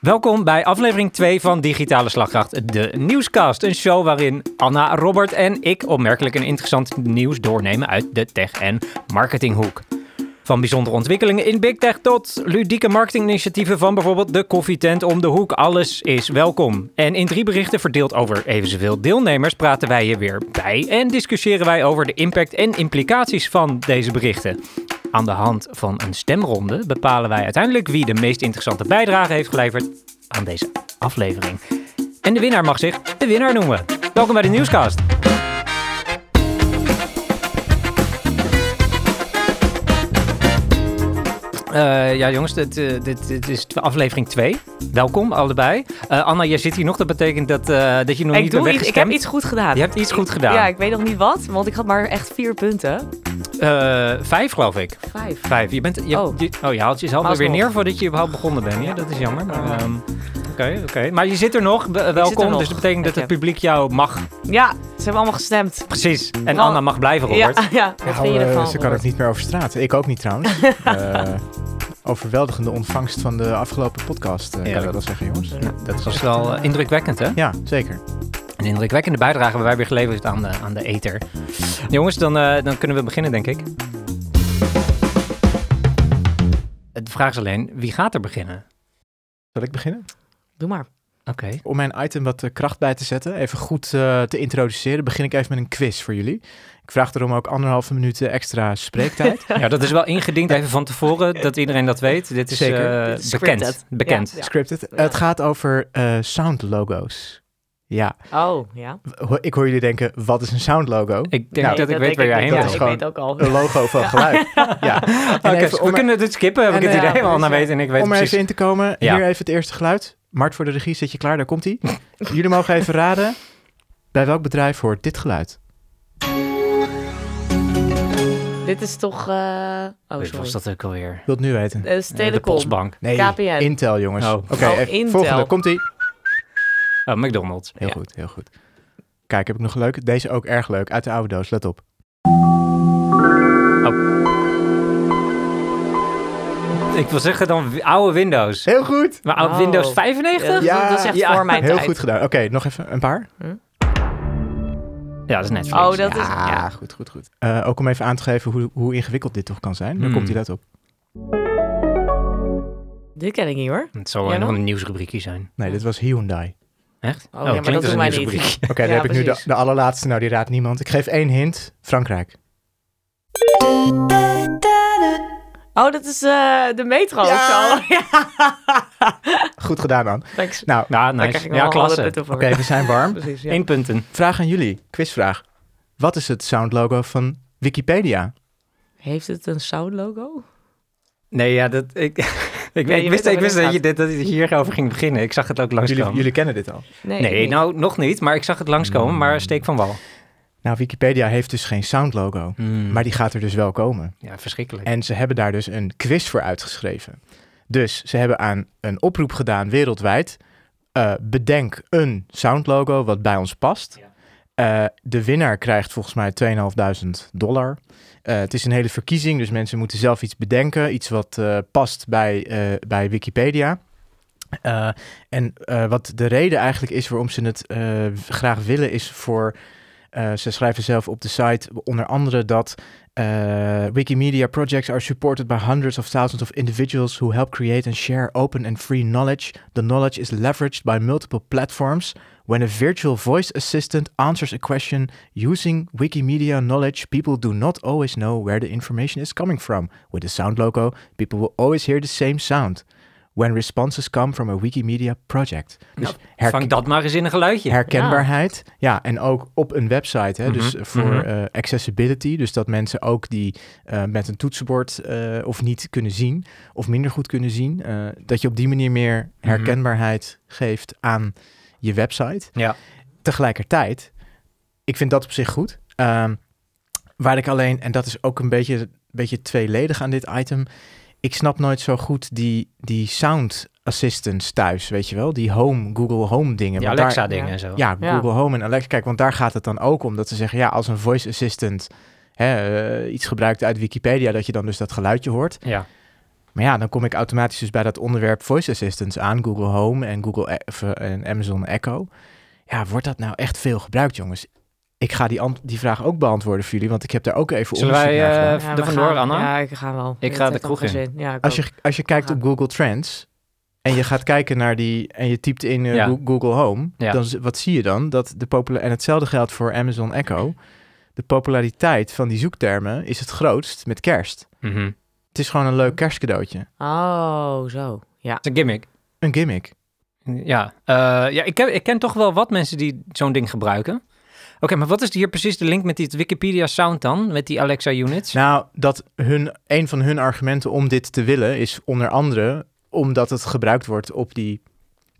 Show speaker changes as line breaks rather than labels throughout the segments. Welkom bij aflevering 2 van Digitale Slagkracht, de nieuwscast. Een show waarin Anna, Robert en ik opmerkelijk en interessant nieuws doornemen uit de tech- en marketinghoek. Van bijzondere ontwikkelingen in big tech tot ludieke marketinginitiatieven van bijvoorbeeld de koffietent om de hoek. Alles is welkom. En in drie berichten verdeeld over even zoveel deelnemers praten wij je weer bij en discussiëren wij over de impact en implicaties van deze berichten. Aan de hand van een stemronde bepalen wij uiteindelijk wie de meest interessante bijdrage heeft geleverd aan deze aflevering. En de winnaar mag zich de winnaar noemen. Welkom bij de Nieuwscast. Eh, ja, jongens, dit, eh, dit, dit is tw- aflevering 2. Welkom, allebei. Eh, Anna, jij zit hier nog. Dat betekent dat, eh, dat je nog
Ik,
niet bent
doe iets, ik heb
weggestemd.
iets goed gedaan.
Je hebt iets goed gedaan.
Ja, ik weet nog niet wat, want ik had maar echt vier punten.
Eh, vijf, geloof ik.
Vijf.
Vijf. Je bent, je,
Oh.
je- oh, je haalt jezelf er weer
Alsnog.
neer voordat je überhaupt begonnen bent. Ja, dat is jammer. maar, ehm, Oké, oké. Maar je zit er nog. Be- welkom.
nog.
Dus dat betekent dat het
Dank
publiek jou mag.
Ja, ze hebben allemaal gestemd.
Precies. En
Wow.
Anna mag blijven, Robert.
Ja, ja. Wat
Nou,
vind je
eh,
ervan?
ze kan ook niet meer over straat. Ik ook niet trouwens. Eh, overweldigende ontvangst van de afgelopen podcast, eh,
Ja,
kan ik
dat-
wel zeggen, jongens.
Dat was wel eh, indrukwekkend, hè?
Ja, zeker.
Een indrukwekkende bijdrage hebben wij weer geleverd aan de, aan de ether. Jongens, dan, eh, dan kunnen we beginnen, denk ik. De vraag is alleen, wie gaat er beginnen?
Zal ik beginnen?
Doe maar.
Oké.
Om mijn item wat eh, kracht bij te zetten, even goed eh, te introduceren, begin ik even met een quiz voor jullie. Ik vraag daarom ook anderhalve minuut eh, extra spreektijd.
Ja, dat is wel ingediend even van tevoren, dat iedereen dat weet. Dit is,
Zeker.
eh,
Dit is
bekend.
scripted.
bekend.
Ja.
Scripted. Het gaat over eh soundlogo's. Ja,
Oh, ja.
ho- ik hoor jullie denken, wat is een soundlogo?
Ik denk
Nou,
dat ik weet waar jij heen
ja,
wil.
Ja,
is
ik
gewoon- Oh.
weet ook al.
Een logo van geluid. Ja. En
Oké,
even
dus
om-
we kunnen dit skippen, heb ik
En,
het
eh,
idee al
dus,
naar
eh,
weet en ik weet
Om er
precies.
even in te komen,
Ja.
hier even het eerste geluid. Mart voor de regie, zit je klaar? Daar komt hij. Jullie mogen even raden. Bij welk bedrijf hoort dit geluid?
Dit is toch... eh, Oh,
Wat was
sorry.
dat ook alweer?
Ik wil het nu weten.
Eh, Dat is
Eh, De
Telecom.
Postbank.
Nee,
KPN.
Intel, jongens.
Oh.
Oké,
Oh,
even-
Intel.
volgende. Komt ie.
Oh, McDonald's.
Heel
Ja.
goed, heel goed. Kijk, heb ik nog een leuke? Deze ook erg leuk. Uit de oude doos, let op.
Ik wil zeggen dan wi- oude Windows.
Heel goed.
Maar oude
Wow.
Windows 95?
Ja,
Ja,
Ja,
dat is echt
ja.
voor mijn
Heel
tijd.
goed gedaan. Oké, nog even een paar.
dat is Netflix.
Oh, dat is...
Ah,
Ja.
goed, goed, goed. Eh, ook om even aan te geven hoe, hoe ingewikkeld dit toch kan zijn. Daar
Hmm.
komt hij, let op.
Dit ken ik niet, hoor.
Het zal
Jij
wel een
nog?
ander nieuwsrubriekje zijn.
Nee, dit was Hyundai.
Echt?
Oh, ja, maar
Oh, klinkt
dat
als
doen wij
een
niet.
nieuwsrubriekje.
Oké, dan
Ja,
heb ik nu de,
precies.
de allerlaatste. Nou, die raadt niemand. Ik geef één hint. Frankrijk.
Oh, dat is eh, de metro of
Ja.
zo. Ja.
Goed gedaan, man.
Thanks. Daar
Nou,
Ja,
krijg ik
nice.
nog wel
Ja,
alle
klasse.
punten voor.
Oké, we zijn warm.
Precies, ja.
Eén punten.
Vraag aan jullie, quizvraag. Wat is het soundlogo van Wikipedia?
Heeft het een soundlogo?
Nee, ja, dat, ik, ik,
weet
ik wist,
waar
ik wist
dit
dat, je dit,
gaat.
dat je hierover ging beginnen. Ik zag het ook
Jullie,
langskomen.
jullie kennen dit al.
Nee,
ik niet.
nou nog niet, maar ik zag het langskomen. Maar steek van wal.
Nou, Wikipedia heeft dus geen soundlogo, maar die gaat er dus wel komen.
Ja, verschrikkelijk.
En ze hebben daar dus een quiz voor uitgeschreven. Dus ze hebben aan een oproep gedaan wereldwijd. eh, bedenk een soundlogo wat bij ons past. Eh, de winnaar krijgt volgens mij 2.500 dollar. Eh, het is een hele verkiezing, dus mensen moeten zelf iets bedenken. Iets wat eh, past bij, eh, bij Wikipedia. Eh, en eh, wat de reden eigenlijk is waarom ze het eh, w- graag willen, is voor. eh, ze schrijven zelf op de site onder andere dat eh, Wikimedia projects are supported by hundreds of thousands of individuals who help create and share open and free knowledge. The knowledge is leveraged by multiple platforms. When a virtual voice assistant answers a question using Wikimedia knowledge, people do not always know where the information is coming from. With the sound logo, people will always hear the same sound. When responses come from a Wikimedia project. Dus
Nou,
herk-
Vang dat maar eens in een geluidje.
herkenbaarheid. Ja. en ook op een website. Hè, Dus voor eh, accessibility. Dus dat mensen ook die eh, met een toetsenbord eh, of niet kunnen zien of minder goed kunnen zien. eh, dat je op die manier meer herkenbaarheid geeft aan je website.
Ja.
Tegelijkertijd, ik vind dat op zich goed. Ehm, waar ik alleen, en dat is ook een beetje, een beetje tweeledig aan dit item. Ik snap nooit zo goed die, die sound assistants thuis, weet je wel? Die home, Google Home dingen.
Die
Want daar-
Alexa-dingen en zo.
ja,
Ja.
Google Home en Alexa. Kijk, want daar gaat het dan ook om. Dat ze zeggen, ja, als een voice assistant hè, eh, iets gebruikt uit Wikipedia, dat je dan dus dat geluidje hoort.
Ja.
Maar ja, dan kom ik automatisch dus bij dat onderwerp voice assistants aan, Google Home en, Google E- of, eh, en Amazon Echo. Ja, wordt dat nou echt veel gebruikt, jongens? Ik ga die, ant- die vraag ook beantwoorden voor jullie, want ik heb daar ook even
Zullen
onderzoek
wij,
naar gedaan.
eh,
Ja,
er
we
vandoor,
gaan.
Anna?
Ja, ik ga wel.
Ik ga
heb
de
er
kroeg
geen
in.
zin. Ja, ik
Als
ook.
je, als je kijkt op Google Trends en je gaat kijken naar die en je typt in eh,
Ja.
Goo- Google Home,
Ja.
dan z- wat zie je dan? Dat de popula- en hetzelfde geldt voor Amazon Echo. De populariteit van die zoektermen is het grootst met kerst.
Mhm. Het
Het is gewoon een leuk kerstcadeautje.
Oh, zo. Ja.
is een gimmick.
Een gimmick.
Ja, Eh, ja ik, ken, ik ken toch wel wat mensen die zo'n ding gebruiken. Oké, maar wat is hier precies de link met die Wikipedia sound dan? Met die Alexa units?
Nou, dat hun, een van hun argumenten om dit te willen is onder andere omdat het gebruikt wordt op die,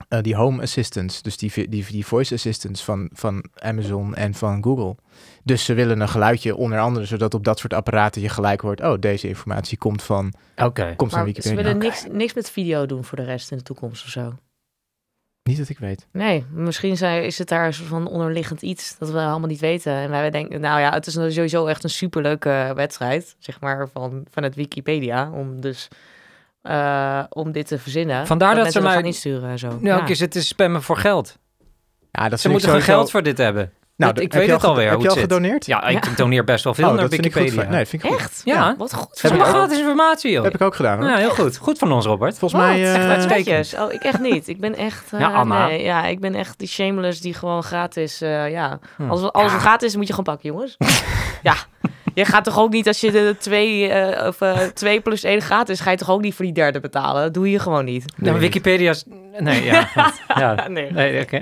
eh, die home assistants, dus die, vi- die, die voice assistants van, van Amazon en van Google. Dus ze willen een geluidje onder andere, zodat op dat soort apparaten je gelijk hoort, oh, deze informatie komt van,
Oké.
komt van
Maar ze
Wikipedia. Nou,
willen
Oké.
niks, niks met video doen voor de rest in de toekomst of zo.
Niet dat ik weet.
Nee, misschien zijn, is het daar een soort van onderliggend iets dat we helemaal niet weten. En wij denken, nou ja, het is sowieso echt een superleuke wedstrijd, zeg maar, van, vanuit Wikipedia. Om dus eh, om dit te verzinnen.
Vandaar dat
mensen
ze
dat
maar-
gaan insturen en zo.
Nou, ze zitten spammen voor geld.
Ja, dat
Ze moeten
gewoon
gewoon geld voor dit hebben. dat- ik
Nou, heb
weet
je
het
al
alweer
Heb
hoe
je al
het zit.
gedoneerd?
Ja, ik
Ja.
doneer best wel veel
oh,
naar
dat vind ik goed.
Wikipedia.
van- Nee, dat vind ik goed.
Echt?
Ja.
Wat goed.
Ze
voor
hebben
jou.
gratis informatie, joh.
Dat heb ik ook gedaan. hoor.
Nou, heel goed. Goed van ons, Robert.
Volgens mij...
Wat?
eh,
Echt netjes. Oh, ik echt niet. Ik ben echt... eh,
Ja, Anna.
Nee, ja, ik ben echt die shameless die gewoon gratis... eh, ja,
Hm.
als, als het gratis is, moet je gewoon pakken, jongens. ja. Je gaat toch ook niet als je de 2 of eh, twee plus 1 gratis... ga je toch ook niet voor die derde betalen? Dat doe je gewoon niet.
Ja, maar Wikipedia is... Nee, ja. ja.
nee.
Nee, oké.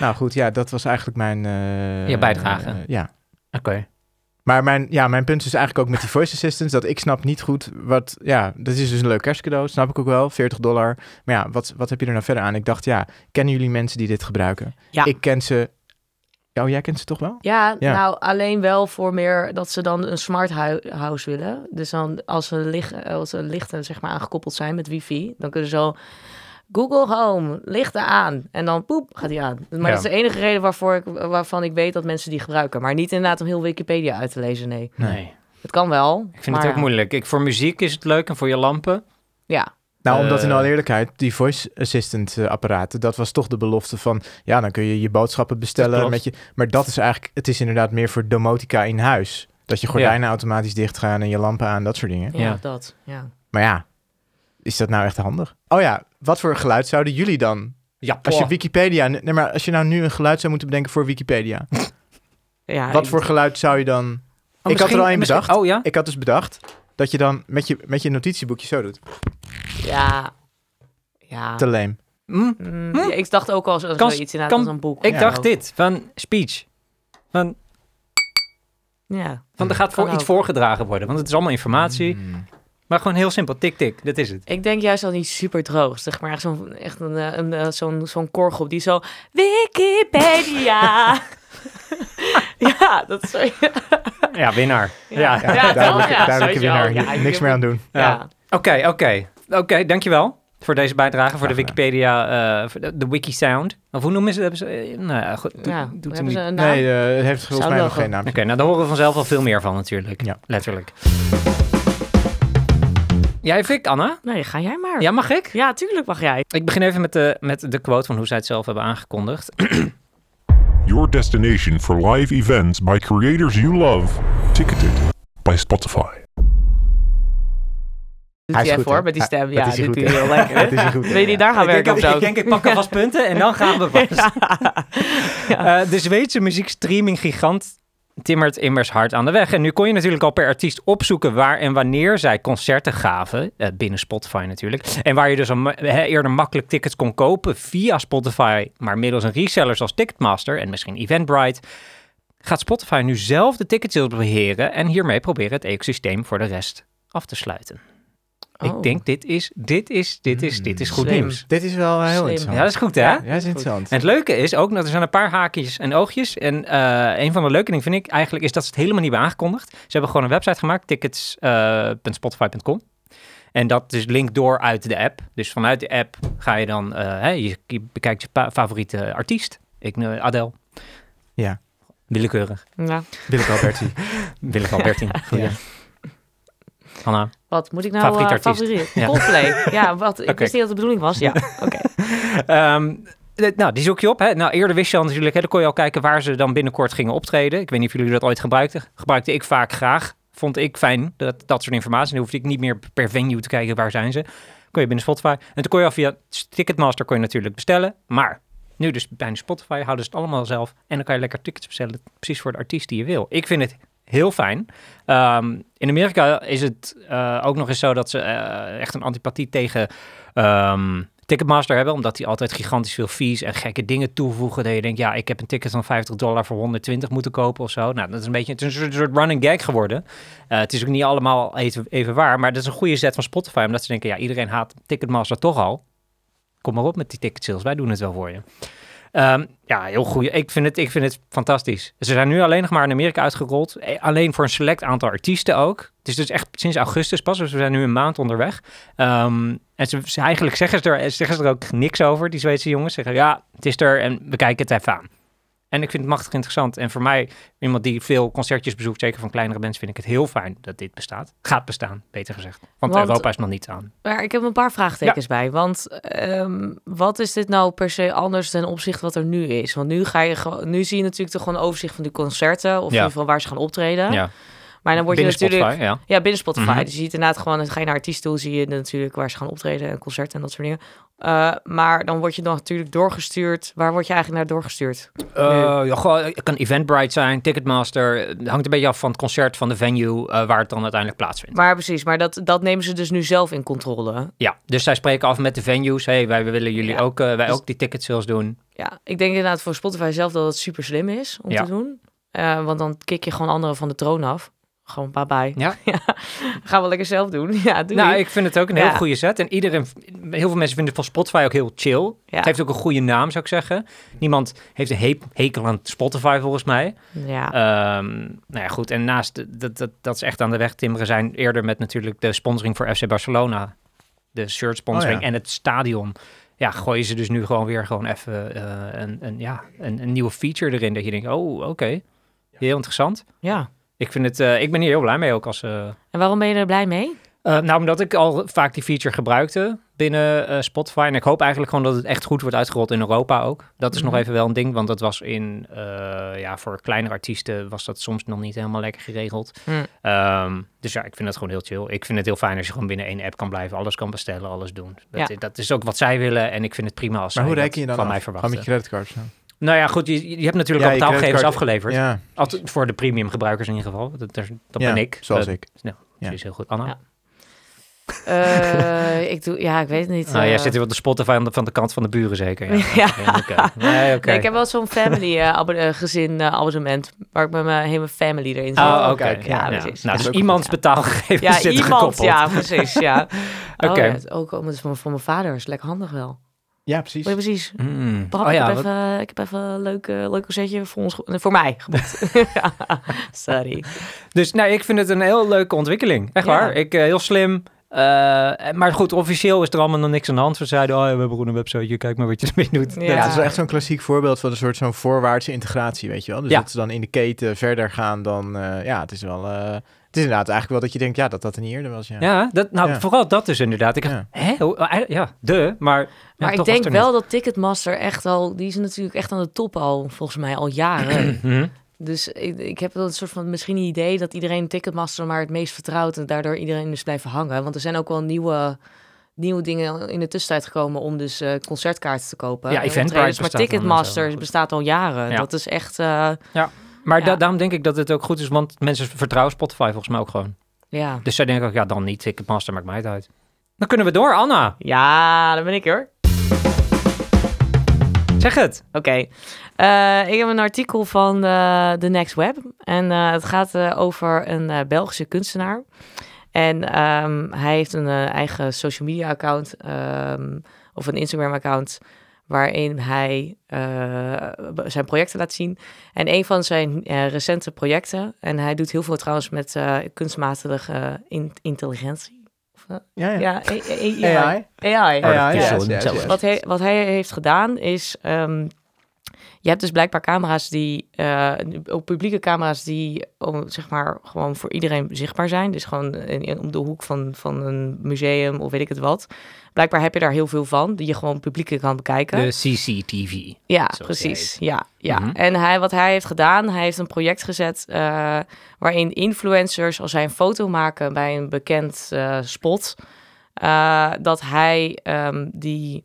Nou goed, ja, dat was eigenlijk mijn... eh,
Je bijdrage.
eh, ja.
Oké.
Maar mijn, ja, mijn punt is eigenlijk ook met die voice assistants... dat ik snap niet goed wat... Ja, dat is dus een leuk kerstcadeau, snap ik ook wel. 40 dollar. Maar ja, wat, wat heb je er nou verder aan? Ik dacht, ja, kennen jullie mensen die dit gebruiken?
Ja.
Ik ken ze... Oh, jij kent ze toch wel?
Ja,
Ja.
nou alleen wel voor meer dat ze dan een smart hu- house willen. Dus dan als ze, licht, als ze lichten zeg maar aangekoppeld zijn met wifi, dan kunnen ze zo Google Home lichten aan en dan poep gaat die aan. Maar
Ja.
dat is de enige reden waarvoor ik, waarvan ik weet dat mensen die gebruiken. Maar niet inderdaad om heel Wikipedia uit te lezen. Nee,
Nee.
het kan wel.
Ik vind
maar
het ook
ja.
moeilijk. Ik, voor muziek is het leuk en voor je lampen.
Ja,
Nou, omdat in
Eh.
alle eerlijkheid, die voice assistant eh, apparaten... dat was toch de belofte van... ja, dan kun je je boodschappen bestellen
klopt.
met je... Maar dat is eigenlijk... het is inderdaad meer voor domotica in huis. Dat je gordijnen automatisch dicht gaan en je lampen aan, dat soort dingen.
ja,
Ja.
dat. Ja.
Maar ja, is dat nou echt handig? Oh ja, wat voor geluid zouden jullie dan
Ja,
Als je
poh.
Wikipedia, nee, maar als je nou nu een geluid zou moeten bedenken voor Wikipedia,
Ja,
wat
ik-
voor geluid zou je dan?
Oh,
ik had er
misschien-
al één
misschien-
bedacht.
Oh ja?
Ik had dus bedacht dat je dan met je, met je notitieboekje zo doet.
Ja, ja.
Te leem.
Hm?
Mm, ja, Ik dacht ook al zo-
Kan-
zoiets inderdaad
kan-
als een boek.
Ik
Ja.
dacht dit, van speech. Van,
Ja.
van er gaat
Kan
voor iets
ook.
voorgedragen worden, want het is allemaal informatie.
Mm.
Maar gewoon heel simpel, tik tik, dat is het.
Ik denk juist al niet super droog, zeg maar. Echt zo'n echt een, eh, een, eh, zo'n zo'n korgroep die zo... Wikipedia! ja, dat is... Ja,
Ja, winnaar. Ja.
Ja.
Oké,
dat-
duidelijke
ja,
duidelijke
sowieso.
winnaar.
Ja, ik
Niks
heb-
meer aan doen.
Ja.
ja.
oké. Oké, dankjewel voor deze bijdrage, voor de
Graag gedaan.
Wikipedia, eh, voor de, de Wikisound. Of hoe noemen ze dat? Hebben ze- eh, nou ja, goed, doet-
ja,
doet hem
hebben
niet.
ze
Oké,
een naam?
Nee, eh, het heeft volgens mij nog
logo.
geen naam.
nou daar horen we vanzelf al veel meer van natuurlijk.
Ja.
Letterlijk. Jij fikt, Anna?
Nee, ga jij maar.
Ja, mag ik?
Ja, tuurlijk mag jij.
Ik begin even met de, met de quote van hoe zij het zelf hebben aangekondigd.
Your destination for live events by creators you love, ticketed by Spotify.
Doet
is
hij
goed,
even
hè?
hoor, met die
Ja,
stem.
dat
Ja,
is hij
doet
goed,
hij
hè?
heel lekker.
Dat is
hè?
een goed.
Wil je die daar gaan
Ik denk
werken
dat-
of zo?
Ik denk, ik pak alvast punten en dan gaan we pas. Eh, de Zweedse muziekstreaming gigant timmert immers hard aan de weg. En nu kon je natuurlijk al per artiest opzoeken waar en wanneer zij concerten gaven. eh, binnen Spotify natuurlijk. En waar je dus al ma- hè, eerder makkelijk tickets kon kopen via Spotify. Maar middels een reseller zoals Ticketmaster en misschien Eventbrite. Gaat Spotify nu zelf de ticketsales beheren en hiermee proberen het ecosysteem voor de rest af te sluiten.
Oh.
Ik denk dit is, dit is, dit is, dit is goed
Slim.
nieuws.
Mm. Dit is wel eh, heel
Slim.
interessant.
Ja, dat is goed, hè?
Hmm, Ja, dat is interessant.
En het leuke is ook dat er zijn een paar haakjes en oogjes. En eh, een van de leuke dingen vind ik eigenlijk is dat ze het helemaal niet hebben aangekondigd. Ze hebben gewoon een website gemaakt, eh, tickets.spotify.com. en dat is link door uit de app. Dus vanuit de app ga je dan, eh, hè, je, je bekijkt je pa- favoriete artiest. Ik noem Adele.
Ja.
Willekeurig.
Ja.
Willeke Alberti.
Willeke Albertine. Goed, ja. Hanna.
Wat moet ik nou
Favoriet
eh,
artiest.
favoriet?
Ja.
Coldplay. ja, wat, ik
Oké.
wist niet dat de bedoeling was. Ja, oké.
Ehm, de- nou, die zoek je op. Hè? Nou, eerder wist je al natuurlijk, hè, dan kon je al kijken waar ze dan binnenkort gingen optreden. Ik weet niet of jullie dat ooit gebruikten. Gebruikte ik vaak graag. Vond ik fijn, dat, dat soort informatie. Dan hoefde ik niet meer per venue te kijken waar zijn ze. Kon je binnen Spotify. En toen kon je al via Ticketmaster kon je natuurlijk bestellen. Maar nu dus bij Spotify houden ze het allemaal zelf. En dan kan je lekker tickets bestellen, precies voor de artiest die je wil. Ik vind het heel fijn. Ehm, in Amerika is het eh, ook nog eens zo dat ze eh, echt een antipathie tegen ehm, Ticketmaster hebben, omdat die altijd gigantisch veel fees en gekke dingen toevoegen. Dat je denkt, ja, ik heb een ticket van 50 dollar voor 120 moeten kopen of zo. Nou, dat is een beetje het is een soort, soort running gag geworden. Eh, het is ook niet allemaal even, even waar, maar dat is een goede zet van Spotify, omdat ze denken, ja, iedereen haat Ticketmaster toch al. Kom maar op met die ticket sales, wij doen het wel voor je. Ehm, ja, heel goed. Ik vind, het, ik vind het fantastisch. Ze zijn nu alleen nog maar in Amerika uitgerold. Eh, Alleen voor een select aantal artiesten ook. Het is dus echt sinds augustus pas, dus we zijn nu een maand onderweg. Ehm, en ze, ze- eigenlijk zeggen ze, er, zeggen ze er ook niks over, die Zweedse jongens. Ze Zeggen, ja, het is er en we kijken het even aan. En ik vind het machtig interessant. En voor mij, iemand die veel concertjes bezoekt, zeker van kleinere mensen, vind ik het heel fijn dat dit bestaat. Gaat bestaan, beter gezegd. Want,
Want-
Europa is nog niet aan.
Maar ik heb een paar vraagtekens bij. Want ehm, wat is dit nou per se anders ten opzichte wat er nu is? Want nu, ga je, gewoon- nu zie je natuurlijk toch gewoon een overzicht van die concerten. Of in ieder geval waar ze gaan optreden. Maar dan word je
Binnen
natuurlijk...
Spotify, ja.
Ja, binnen Spotify.
Mhm.
Dus je ziet inderdaad gewoon, dan ga je naar artiesten toe, zie je natuurlijk waar ze gaan optreden en concerten en dat soort dingen. Eh, maar dan word je dan natuurlijk doorgestuurd. Waar word je eigenlijk naar doorgestuurd?
Eh, ja, gewoon, het kan Eventbrite zijn, Ticketmaster. Het hangt een beetje af van het concert, van de venue, eh, waar het dan uiteindelijk plaatsvindt.
Maar precies, maar dat, dat nemen ze dus nu zelf in controle.
Ja, dus zij spreken af met de venues. hey, wij willen jullie
Ja.
ook, eh, wij
Dus-
ook die ticket sales doen.
Ja, ik denk inderdaad voor Spotify zelf dat het super slim is om
Ja.
te doen. Eh, want dan kik je gewoon anderen van de troon af. Gewoon bye bye.
Ja.
Gaan we lekker zelf doen. Ja, doei.
Nou, ik vind het ook een heel
Ja.
goede set. En iedereen, heel veel mensen vinden van Spotify ook heel chill.
Ja.
Het heeft ook een goede naam, zou ik zeggen. Niemand heeft een he- hekel aan Spotify, volgens mij.
ja.
Ehm, nou ja, goed. En naast, de- dat, dat, dat is echt aan de weg timmeren zijn. Eerder met natuurlijk de sponsoring voor FC Barcelona. De shirt sponsoring
Oh ja.
en het stadion. Ja, gooien ze dus nu gewoon weer gewoon even eh, een, een, ja, een, een nieuwe feature erin. Dat je denkt, oh, oké. Heel interessant.
ja.
Ik, vind het, eh, ik ben hier heel blij mee ook als... eh,
En waarom ben je er blij mee?
eh, nou, omdat ik al vaak die feature gebruikte binnen eh, Spotify. En ik hoop eigenlijk gewoon dat het echt goed wordt uitgerold in Europa ook. Dat is nog
Mhm.
even wel een ding, want dat was in... eh, ja, voor kleinere artiesten was dat soms nog niet helemaal lekker geregeld.
Mm.
Ehm, dus ja, ik vind dat gewoon heel chill. Ik vind het heel fijn als je gewoon binnen één app kan blijven. Alles kan bestellen, alles doen. Dat,
Ja.
dat is ook wat zij willen en ik vind het prima als
Maar
zij
hoe
dat
reken je dan
van
af?
mij eh.
Gewoon
verwachten.
met je creditcard. zo.
Nou ja, goed, je, je hebt natuurlijk
Ja,
al
je
betaalgegevens
creditcard-
afgeleverd.
Ja,
Altijd voor de premium gebruikers in ieder geval. Dat, dat dat
ja,
ben ik.
Zoals
Eh,
ik.
precies, heel goed. Anna?
Ja. Eh, ik doe, ja, ik weet het niet.
Nou, jij
eh.
zit hier op de Spotify aan de- van de kant van de buren zeker. Ja.
Ja.
Nee, oké. Nee, oké.
Nee, ik heb wel zo'n family eh, abon- eh, gezin eh, abonnement waar ik met mijn hele family erin zit.
Oh, oké.
kijk,
Ja,
ja,
ja.
precies.
Nou,
Dat is
dus
ook
iemands
goed, ja.
betaalgegevens
ja,
zitten
iemand,
gekoppeld.
ja, precies, ja. Oké.
Oké.
ook om het van, van mijn vader is lekker handig wel.
Ja, precies.
Maar ja, precies.
Mm.
Pap,
Oh
ik,
ja,
heb
wat-
even, ik heb even een leuk, eh, leuk concertje voor, ons, ge- voor mij geboekt. Sorry.
Dus nou, ik vind het een heel leuke ontwikkeling. Echt
Ja.
waar. Ik, eh, heel slim. Eh, maar goed, officieel is er allemaal nog niks aan de hand. We zeiden, oh ja, we hebben gewoon een website. Kijk maar wat je ermee doet.
Ja.
Ja, het is wel echt zo'n klassiek voorbeeld van een soort zo'n voorwaartse integratie, weet je wel. Dus
Ja.
dat ze dan in de keten verder gaan dan, eh, ja, het is wel, eh, het is inderdaad eigenlijk wel dat je denkt, ja, dat dat er niet eerder was, ja.
Ja, dat, nou,
Ja.
vooral dat dus inderdaad. Ik dacht,
Ja.
hè? Hoe- eh, Ja, de, maar... ja,
Maar
toch
ik
was
denk
het er
wel dat Ticketmaster echt al... Die is natuurlijk echt aan de top al, volgens mij, al jaren.
niet. Mhm.
dus ik, ik heb wel een soort van misschien een idee... dat iedereen Ticketmaster maar het meest vertrouwt... en daardoor iedereen dus blijft hangen. Want er zijn ook wel nieuwe, nieuwe dingen in de tussentijd gekomen... om dus eh, concertkaarten te kopen.
Ja,
en
Eventbrite
optredens.
bestaat
Maar
dan en zo, maar
Ticketmaster
goed.
bestaat al jaren.
Ja.
Dat is echt... eh,
Maar da-
Ja.
daarom denk ik dat het ook goed is, want mensen vertrouwen Spotify volgens mij ook gewoon.
ja.
Dus zij denken ook, ja, dan niet. Ik master, maakt mij het uit. Dan kunnen we door, Anna.
ja, daar ben ik hoor.
Zeg het.
Oké. Eh, ik heb een artikel van eh, The Next Web. En eh, het gaat eh, over een eh, Belgische kunstenaar. En ehm, hij heeft een eh, eigen social media account. ehm, of een Instagram account. Waarin hij eh, zijn projecten laat zien. En een van zijn eh, recente projecten. En hij doet heel veel trouwens met eh, kunstmatige eh, in- intelligentie. Of, eh,
Ja, Oh,
ja,
ja.
A- A-
AI.
AI.
Ja, ja,
Artificial
ja, ja, ja.
intelligence.
Wat hij, wat hij heeft gedaan is... ehm, Je hebt dus blijkbaar camera's die, eh, ook publieke camera's die om, zeg maar gewoon voor iedereen zichtbaar zijn. Dus gewoon in, in- om de hoek van, van een museum of weet ik het wat. Blijkbaar heb je daar heel veel van, die je gewoon publiek kan bekijken.
De CCTV.
Ja,
Zoals
precies.
jij
Ja, ja.
Dus- Mhm.
En hij, wat hij heeft gedaan, hij heeft een project gezet eh, waarin influencers, als zij een foto maken bij een bekend eh, spot, eh, dat hij ehm, die,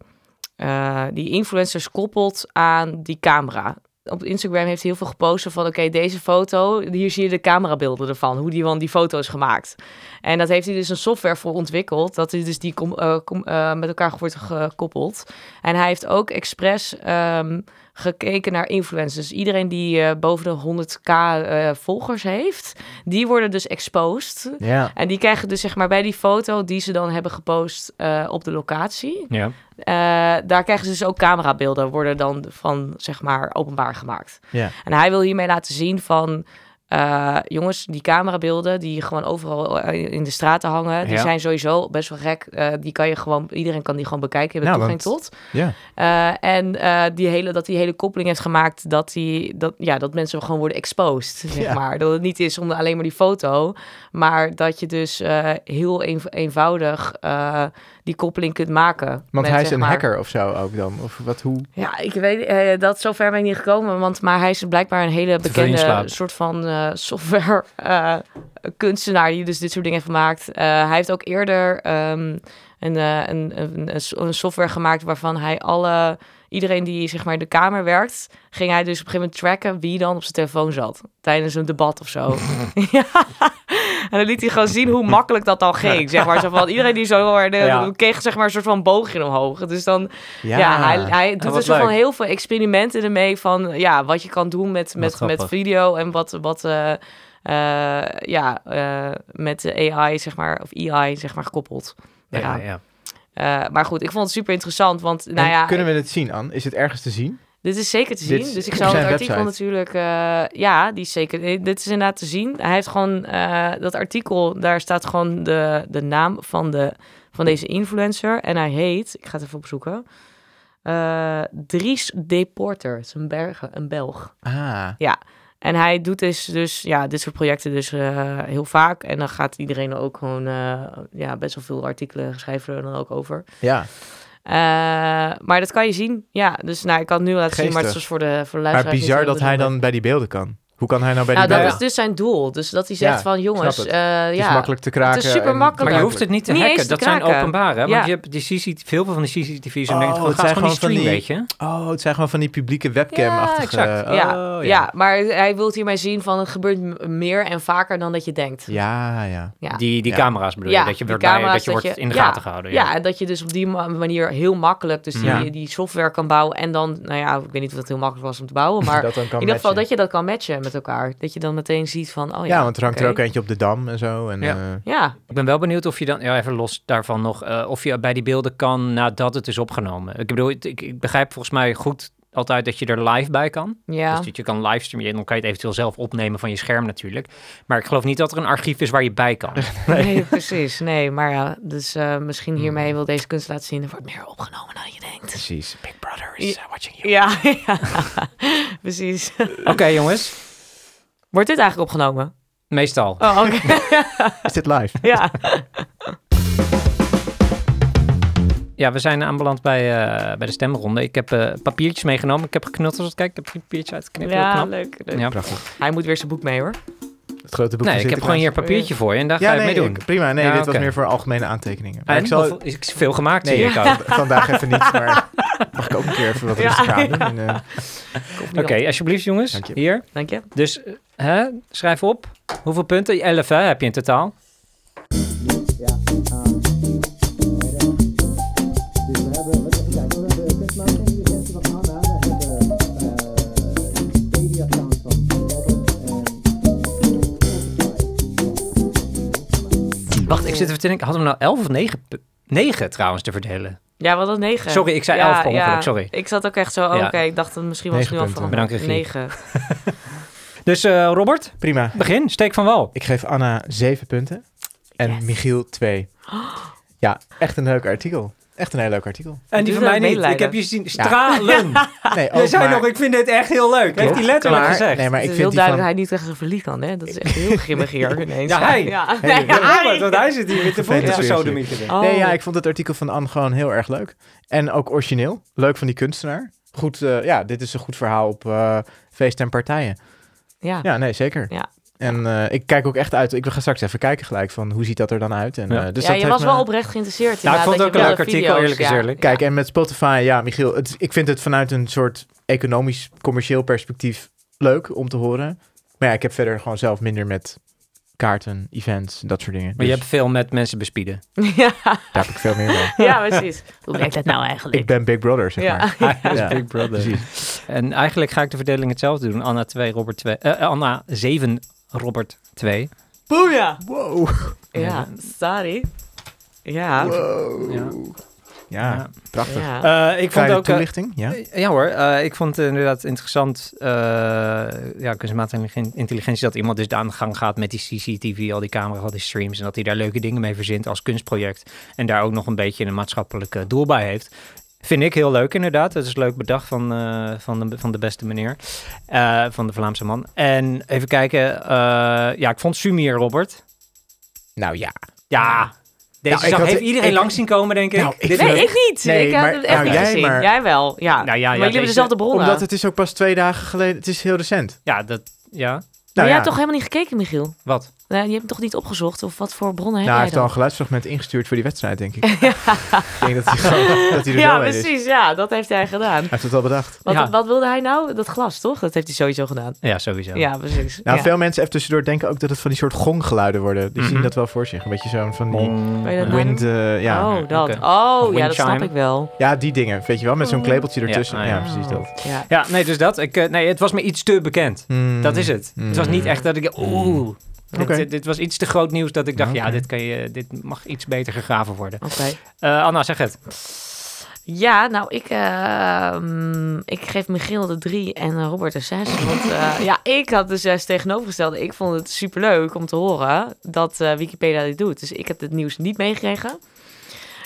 eh, die influencers koppelt aan die camera. Op Instagram heeft hij heel veel gepost van, oké, deze foto, hier zie je de camerabeelden ervan, hoe die van die foto is gemaakt. En dat heeft hij dus een software voor ontwikkeld, dat hij dus die com- eh, com- eh, met elkaar wordt gekoppeld. En hij heeft ook expres ehm, gekeken naar influencers. Dus iedereen die eh, boven de 100k eh, volgers heeft, die worden dus exposed.
Ja.
En die krijgen dus zeg maar bij die foto die ze dan hebben gepost eh, op de locatie.
Ja.
eh, daar krijgen ze dus ook camerabeelden worden dan van zeg maar openbaar gemaakt.
Ja.
En hij wil hiermee laten zien van... eh, jongens, die camerabeelden die gewoon overal eh, in de straten hangen... die
Ja.
zijn sowieso best wel gek. Eh, die kan je gewoon, iedereen kan die gewoon bekijken. Je bent
Nou,
toegang
want-
tot.
ja.
Eh, en eh, die hele, dat die hele koppeling heeft gemaakt dat, die, dat, ja, dat mensen gewoon worden exposed, zeg
Ja.
maar. Dat het niet is om alleen maar die foto, maar dat je dus eh, heel eenv- eenvoudig eh, die koppeling kunt maken.
Want
met,
hij is
zeg
een
maar-
hacker of zo ook dan? Of wat, hoe?
Ja, ik weet eh, dat zover ben ik niet gekomen, want, maar hij is blijkbaar een hele
veel
bekende
inslaap.
soort van eh, software eh, kunstenaar die dus dit soort dingen heeft gemaakt. Eh, hij heeft ook eerder ehm, een, eh, een, een, een so- een software gemaakt waarvan hij alle iedereen die zeg maar in de kamer werkt, ging hij dus op een gegeven moment tracken wie dan op zijn telefoon zat tijdens een debat of zo. ja. En dan liet hij gewoon zien hoe makkelijk dat dan ging, zeg maar. Zo van iedereen die zo hoorde,
Ja.
kreeg zeg maar een soort van boogje omhoog. Dus dan ja, hij, hij doet
wat
dus gewoon
leuk.
heel veel experimenten ermee van ja, wat je kan doen met, met, met
grappig.
video en wat, wat eh, eh, ja, eh, met de AI, zeg maar, of AI, zeg maar, gekoppeld. Ja.
Ja, ja.
Eh, maar goed, ik vond het super interessant, want nou
En
ja,
kunnen we het zien, Ann? Is het ergens te zien?
dit is zeker te zien.
Dit is
dus ik
op
zal het
zijn
artikel
website.
natuurlijk... eh, ja, die is zeker... eh, Dit is inderdaad te zien. Hij heeft gewoon... eh, dat artikel, daar staat gewoon de, de naam van, de, van deze influencer. En hij heet... Ik ga het even opzoeken. eh, Dries Deporter. Het is een, Bergen, een Belg.
Ah.
En hij doet dus, dus ja, dit soort projecten dus eh, heel vaak. En dan gaat iedereen ook gewoon... eh, ja, best wel veel artikelen schrijven er dan ook over.
Ja.
Eh, maar dat kan je zien. Ja, dus nou, ik kan het nu laten zien, maar het
Geestig.
is voor de, voor de
Maar
luisteraars
bizar
niet heel
dat hij
bijzonder.
dan bij die beelden kan. Hoe kan hij nou bij
Nou,
die
dat
beelden?
is dus zijn doel. Dus dat hij zegt
Ja,
van, jongens,
snap het.
eh,
Het is
ja,
makkelijk te kraken.
super
en
makkelijk.
Maar je hoeft het niet te
Niet eens
hacken.
te
Dat zijn
kraken.
openbaar, hè? Want
Ja.
je hebt die CCTV, veel van de CCTV's en
Oh,
dingen.
het
Het zijn
zijn
gewoon die stream,
gewoon van
weet je.
Oh, het zijn gewoon van die publieke webcam-achtige...
Ja, exact.
Oh,
ja,
ja.
ja. maar hij wil hiermee zien van, het gebeurt m- meer en vaker dan dat je denkt.
Ja, ja.
Ja.
Die, die
Ja.
camera's bedoel je,
Ja,
dat je
die
wordt, bij, dat
camera's,
je
dat
wordt
je-
in de
ja.
gaten gehouden.
Ja, en dat je dus op die ma- manier heel makkelijk dus die,
Ja.
die software kan bouwen. En dan, nou ja, ik weet niet of dat heel makkelijk was om te bouwen, maar
dat dan kan
in ieder geval
matchen.
dat je dat kan matchen met elkaar. Dat je dan meteen ziet van, oh ja.
ja, want er hangt er
oké.
ook eentje op de Dam en zo. En,
Ja.
eh,
Ja,
Ik ben wel benieuwd of je dan, ja, even los daarvan nog, eh, of je bij die beelden kan nadat het is opgenomen. Ik bedoel, ik, ik- ik begrijp volgens mij goed altijd dat je er live bij kan.
ja.
Dus dat je kan livestreamen en dan kan je het eventueel zelf opnemen van je scherm natuurlijk. Maar ik geloof niet dat er een archief is waar je bij kan.
Nee. precies. Nee, maar ja, dus eh, misschien hiermee wil deze kunst laten zien. Er wordt meer opgenomen dan je denkt.
Precies. Big Brother is eh, watching you.
Ja, ja. precies.
Oké jongens,
Wordt dit eigenlijk opgenomen?
meestal.
Oh, oké.
Is dit live?
ja.
Ja, we zijn aanbeland bij, eh, bij de stemronde. Ik heb eh, papiertjes meegenomen. Ik heb geknut als het kijkt. Ik heb drie papiertjes uitgeknipt. heel
ja,
knap.
leuk. leuk.
Ja.
Prachtig.
Hij moet weer zijn boek mee, hoor.
Het grote boek
Nee,
van
ik heb gewoon hier een
Sinterklaas.
papiertje voor je en daar
Ja,
ga je
nee,
mee doen.
ik- prima. Nee,
Ja,
dit was
oké.
meer voor algemene aantekeningen. Maar
En,
ik zal...
of is is veel gemaakt
Nee,
zie ik ook.
v- vandaag even niet, maar mag ik ook een keer even wat
Ja,
rustig
ja.
aan doen. En, eh,
Oké, alsjeblieft jongens.
Dank je.
Hier.
Dank je.
Dus eh, hè, schrijf op. Hoeveel punten? 11 hè, heb je in totaal. Wacht, ik zit even te denken. Hadden we nou 11 of 9? 9 trouwens te verdelen.
Ja, wat dat negen.
Sorry, ik zei
ja,
elf per ongeluk,
ja.
sorry.
Ik zat ook echt zo, oh,
Ja.
oké, ik dacht dat misschien was het
Negen
nu al
punten.
van
Bedankt, regie.
negen.
Dus eh, Robert,
prima.
begin. Steek van wal.
Ik geef Anna zeven punten en
Yes.
Michiel twee. Ja, echt een leuk artikel. Echt een heel leuk artikel.
En die
Doe
van
dat
mij niet.
medelijden.
Ik heb je zien stralen.
Nee,
Jij
ook,
zei
maar-
nog, ik vind dit echt heel leuk. Heeft hij letterlijk
maar-
gezegd.
Nee, maar
het
ik
is heel
vind die
duidelijk
van...
dat hij niet tegen zijn verlies kan, hè? Dat is echt heel grimmig hier ineens.
Ja, hij.
Ja.
Hey,
Ja, hij.
Ja, want hij zit hier met de voeten
Nee,
van
seriously.
sodomieten.
Oh.
Nee, ja, ik vond het artikel van Anne gewoon heel erg leuk. En ook origineel. Leuk van die kunstenaar. Goed, eh, ja, dit is een goed verhaal op eh, feesten en partijen.
Ja.
Ja, dus nee, zeker.
Ja.
En eh, ik kijk ook echt uit. Ik ga straks even kijken gelijk van hoe ziet dat er dan uit. En,
Ja.
eh, dus
ja,
dat
je
heeft
was
me-
wel oprecht geïnteresseerd.
Nou, ik
inderdaad,
vond het ook
dat
een
je
leuk
wilde
artikel,
video's,
eerlijk is
ja.
eerlijk.
Kijk, en met Spotify, ja, Michiel, het, ik vind het vanuit een soort economisch, commercieel perspectief leuk om te horen. Maar ja, ik heb verder gewoon zelf minder met kaarten, events, dat soort dingen.
Maar je
Dus
hebt veel met mensen bespieden.
Ja,
daar heb ik veel meer mee.
ja, precies. Hoe werkt dat nou
Ik
eigenlijk?
ben Big Brother, zeg maar.
Ja.
Hij is
Ja.
Big Brother.
Precies.
En eigenlijk ga ik de verdeling hetzelfde doen. Anna 2, Robert 2. eh, Anna 7, Robert 2.
Boeja!
Wow.
Ja, sorry. Ja.
Wow.
Ja.
Ja,
Ja.
prachtig.
ja.
ik vond
Kleine
ook... Ah. eh,
toelichting, ja.
Eh, Ja hoor, eh, ik vond het inderdaad interessant, eh, ja, kunstmatige intelligen- intelligentie, dat iemand dus aan de gang gaat met die CCTV, al die camera's, al die streams, en dat hij daar leuke dingen mee verzint als kunstproject, en daar ook nog een beetje een maatschappelijk eh, doel bij heeft. Vind ik heel leuk inderdaad, dat is leuk bedacht van, eh, van, de, van de beste meneer, eh, van de Vlaamse man. En even kijken, eh, ja, ik vond Sumier Robert,
Nou ja.
ja, deze
Nou, ik
zag-
had-
heeft iedereen
ik-
langs zien komen denk ik.
Nou, ik
Dit-
vind
Nee, ik niet.
Nee,
ik heb
maar-
het echt
nou,
niet
jij
gezien.
maar-
Jij wel, ja.
Nou ja, ja,
maar jullie hebben
deze-
dezelfde bronnen.
Omdat het is ook pas twee dagen geleden. Het is heel recent.
Ja, dat, ja,
Maar jij
Nou ja.
hebt toch helemaal niet gekeken, Michiel?
wat?
Nou, je hebt toch niet opgezocht? Of wat voor bronnen
Nou, hij
heb
heeft
jij
al een
dan?
geluidsfragment ingestuurd voor die wedstrijd, denk ik. Ik denk dat hij, gewoon, dat hij er
ja,
wel in is. Hij
precies. Ja, dat heeft hij gedaan.
heeft het al bedacht.
Wat,
Ja.
wat wilde hij nou? Dat glas, toch? Dat heeft hij sowieso gedaan.
Ja, sowieso.
Ja, precies.
Nou,
ja.
veel mensen even tussendoor denken ook dat het van die soort gonggeluiden worden. Die zien dat wel voor zich. Een beetje zo'n van die
Weet je dat nou?
wind... eh, ja.
Oh, dat.
Oké.
Oh, ja, dat
Windchime.
snap ik wel.
ja, die dingen. Weet je wel, met zo'n klebeltje ertussen.
ah,
Ja,
ja.
precies
Oh.
dat.
Ja.
Ja, nee, dus dat. Ik, eh, nee, het was me iets te bekend.
Hmm.
Dat is het. Het was niet echt dat ik... Oeh. Dit,
Mm.
eh,
Oké. Mm-hmm.
dit, dit was iets te groot nieuws dat ik dacht, ja,
Oké.
dit, kan je, dit mag iets beter gegraven worden.
Oké.
Eh, Anna, zeg het.
Ja, nou, ik, ehm, ik geef Michiel de drie en eh, Robert de zes. Want eh, ja, ik had de zes tegenovergestelde. Ik vond het superleuk om te horen dat eh, Wikipedia dit doet. Dus ik heb dit nieuws niet meegekregen.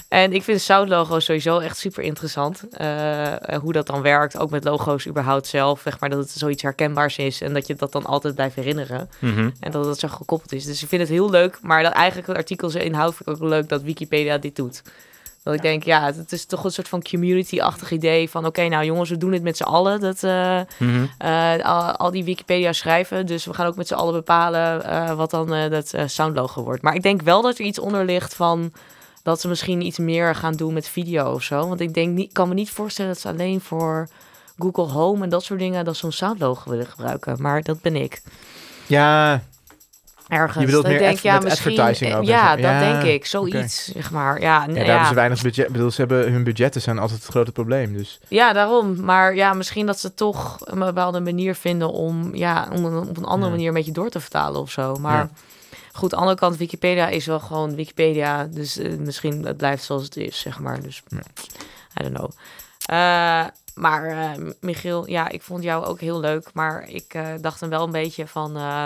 En ik vind Soundlogo sowieso echt super interessant. eh, hoe dat dan werkt, ook met logo's überhaupt zelf. Zeg maar dat het zoiets herkenbaars is en dat je dat dan altijd blijft herinneren. En dat dat zo gekoppeld is. Dus ik vind het heel leuk. Maar dat eigenlijk het artikel zijn inhoud vind ik ook leuk dat Wikipedia dit doet. Dat ik denk, ja, het is toch een soort van community-achtig idee van... oké, nou jongens, we doen het met z'n allen. Dat eh, eh, al, al die Wikipedia schrijven. Dus we gaan ook met z'n allen bepalen eh, wat dan eh, dat eh, soundlogo wordt. Maar ik denk wel dat er iets onder ligt van... dat ze misschien iets meer gaan doen met video of zo. Want ik denk niet, kan me niet voorstellen dat ze alleen voor... Google Home en dat soort dingen, dat ze zo'n soundlogo willen gebruiken. Maar dat ben ik
Ja,
ergens.
Je bedoelt
Dat
meer
ik
adver- met advertising ook en
eh, Ja,
zo.
dat
Ja,
denk ik. Zoiets, zeg maar. Ja, n-
ja, daar
ja.
hebben ze weinig budget. Ik bedoel, ze hebben, hun budgetten zijn altijd het grote probleem. Dus
ja, daarom. Maar ja, misschien dat ze toch een bepaalde manier vinden om, ja, om een- op een andere
Ja.
manier een beetje door te vertalen of zo. Maar
Ja.
goed, aan de andere kant, Wikipedia is wel gewoon Wikipedia. Dus eh, misschien het blijft zoals het is, zeg maar. Dus I don't know. Eh, maar eh, Michiel, ja, ik vond jou ook heel leuk. Maar ik eh, dacht dan wel een beetje van... eh,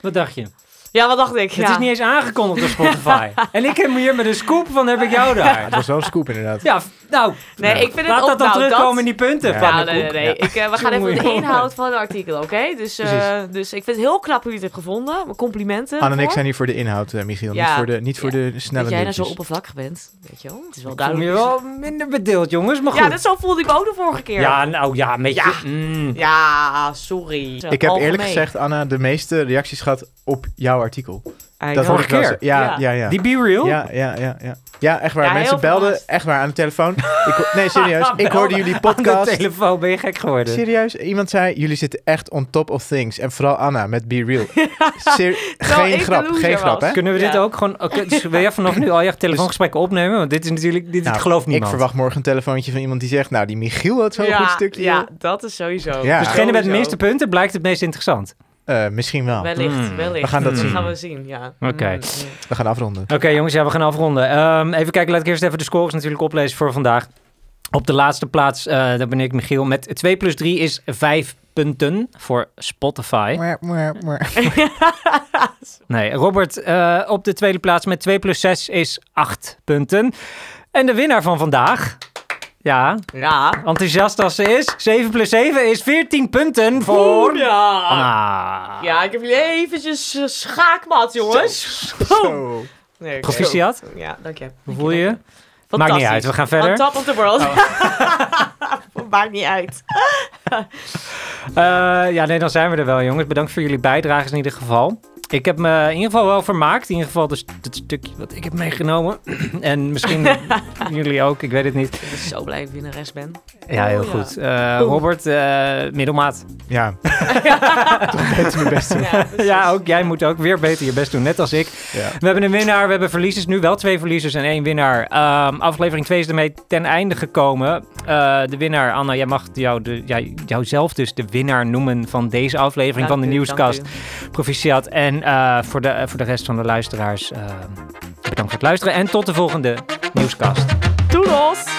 Wat dacht je?
Ja, wat dacht ik?
Het
ja.
is niet eens aangekondigd op Spotify. en ik heb hier met een scoop van heb ik jou
het
daar.
was wel een scoop inderdaad.
Ja, f- nou,
Nee, ik vind het
laat
ook,
dat dan
nou,
terugkomen
dat-
in die punten
Ja.
van
Ja,
de
nee, nee,
koek.
nee. Ik, eh, we gaan even
Jongen,
op de
jongen.
inhoud van het artikel, oké? Dus, eh,
Precies.
dus ik vind het heel knap hoe je het hebt gevonden. Mijn complimenten.
Anne en ik
ervoor.
zijn hier voor de inhoud, eh, Michiel.
Ja.
Niet voor de, niet voor de snelle
Dat jij nou zo
nieuwtjes.
oppervlakkig bent, weet je wel. Het is wel
Ik voel
duidelijk.
me wel minder bedeeld, jongens, maar goed.
Ja, dat zo voelde ik me ook de vorige keer.
Ja, nou ja, met
Ja.
je... mm.
Ja, sorry.
Ik heb eerlijk
Algemeen.
gezegd, Anna, de meeste reacties gehad op jouw artikel.
I
Dat
know.
vond ik wel
Vorige
zo- Ja,
Ja.
ja, ja.
Die Be Real?
Ja, ja, ja, ja. Ja, echt waar.
Ja, heel
Mensen belden
verrast.
echt waar aan de telefoon. Ik, ho- nee, serieus. ik hoorde jullie
Aan de
podcast.
telefoon ben je gek geworden.
Serieus, iemand zei, jullie zitten echt on top of things. En vooral Anna met Be Real. Ser-
Terwijl ik
geen
de
grap,
loser
geen
was.
grap, hè?
Kunnen we
Ja.
dit ook gewoon... oké, dus wil jij vanaf nu al je telefoongesprekken opnemen? Want dit is natuurlijk... Dit
Nou,
gelooft niemand.
Ik verwacht morgen een telefoontje van iemand die zegt, nou, die Michiel had zo'n
ja,
goed stukje.
Ja, dat is sowieso.
Ja.
Dus degene met de
Sowieso.
minste punten blijkt het meest interessant.
Eh, misschien wel.
Wellicht,
Hmm.
wellicht.
We gaan dat
Dat
zien.
gaan we zien, ja.
Oké.
Mm, mm.
We gaan afronden.
Oké jongens, ja, we gaan afronden. Ehm, even kijken, laat ik eerst even de scores natuurlijk oplezen voor vandaag. Op de laatste plaats, eh daar ben ik Michiel, met 2 plus 3 is 5 punten voor Spotify.
Mwah, mwah, mwah.
Nee, Robert eh, op de tweede plaats met 2 plus 6 is 8 punten. En de winnaar van vandaag... Ja,
Ja.
enthousiast als ze is. 7 plus 7 is 14 punten voor...
Ja.
Anna.
Ah. ja, ik heb jullie eventjes eh, schaakmat, jongens. Oh.
Zo.
Nee, oké.
Proficiat.
Ja, dank je.
Hoe voel je je? Maakt
Fantastisch.
niet uit, we gaan verder. Oh.
On top of the world. Maakt niet uit.
Eh, ja, nee, dan zijn we er wel, jongens. Bedankt voor jullie bijdrages in ieder geval. Ik heb me in ieder geval wel vermaakt. In ieder geval dus het stukje wat ik heb meegenomen. en misschien jullie ook, ik weet het niet.
Ik ben zo blij dat ik winnares ben.
Ja, heel
Oh, ja.
goed. Eh, Robert, eh, middelmaat.
Ja. Toch beter mijn best doen.
Ja, precies.
Ja, ook jij moet ook weer beter je best doen, net als ik.
Ja.
We hebben een winnaar, we hebben verliezers. Nu wel twee verliezers en één winnaar. Ehm, aflevering 2 is ermee ten einde gekomen. Eh, de winnaar, Anna, jij mag jou de, jij, jouzelf dus de winnaar noemen van deze aflevering
Dank
van de
u,
Nieuwskast.
dank u.
Proficiat. En eh, voor, de, voor de rest van de ehm, luisteraars, eh, bedankt voor het luisteren. En tot de volgende Nieuwskast.
Doedels!